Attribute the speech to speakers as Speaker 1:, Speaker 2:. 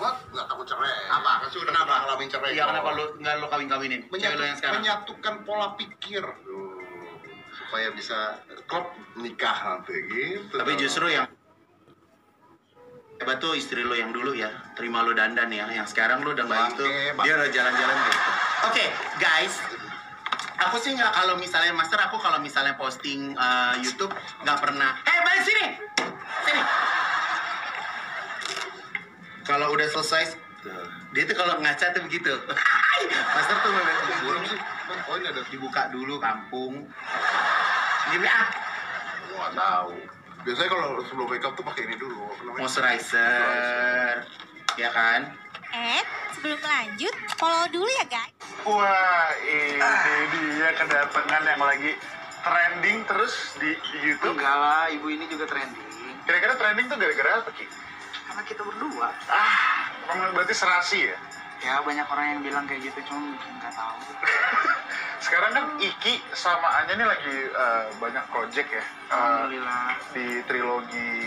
Speaker 1: aku cerai.
Speaker 2: Apa?
Speaker 1: Pasti udah
Speaker 2: Kenapa?
Speaker 1: pernah ngalamin cerai.
Speaker 2: Iya,
Speaker 1: dong.
Speaker 2: kenapa lu nggak lu kawin kawinin? Cewek lu yang
Speaker 1: Menyatu-
Speaker 2: sekarang.
Speaker 1: menyatukan pola pikir
Speaker 3: Tuh, supaya bisa klop nikah nanti gitu.
Speaker 2: Tapi
Speaker 3: dong.
Speaker 2: justru yang hebat tuh istri lu yang dulu ya, terima lu dandan ya. Yang sekarang lu udah nggak
Speaker 1: Bangke,
Speaker 2: gitu,
Speaker 1: bangke.
Speaker 2: dia udah jalan-jalan gitu. Oke, guys. Aku sih nggak kalau misalnya master aku kalau misalnya posting uh, YouTube nggak pernah. Hei balik sini, sini. Kalau udah selesai,
Speaker 3: Tuh.
Speaker 2: dia tuh kalau ngaca tuh begitu. master tuh memang
Speaker 1: belum sih
Speaker 4: Kan
Speaker 1: Bang, oh ini ada
Speaker 2: dibuka dulu kampung. Gini ah,
Speaker 1: Gua nggak tahu biasanya kalau sebelum make up tuh pakai ini dulu apa namanya
Speaker 2: moisturizer, ya kan?
Speaker 5: Eh, sebelum lanjut, follow dulu ya guys.
Speaker 4: Wah, ini dia kedatangan yang lagi trending terus di di YouTube.
Speaker 6: Enggak lah, ibu ini juga trending.
Speaker 4: Kira-kira trending tuh gara-gara apa, Ki?
Speaker 6: Karena kita berdua.
Speaker 4: Ah, emang berarti serasi ya?
Speaker 6: Ya banyak orang yang bilang kayak gitu, cuma nggak tahu.
Speaker 4: Sekarang kan Iki sama Anya nih lagi eh, banyak project ya. eh,
Speaker 6: Alhamdulillah.
Speaker 4: di trilogi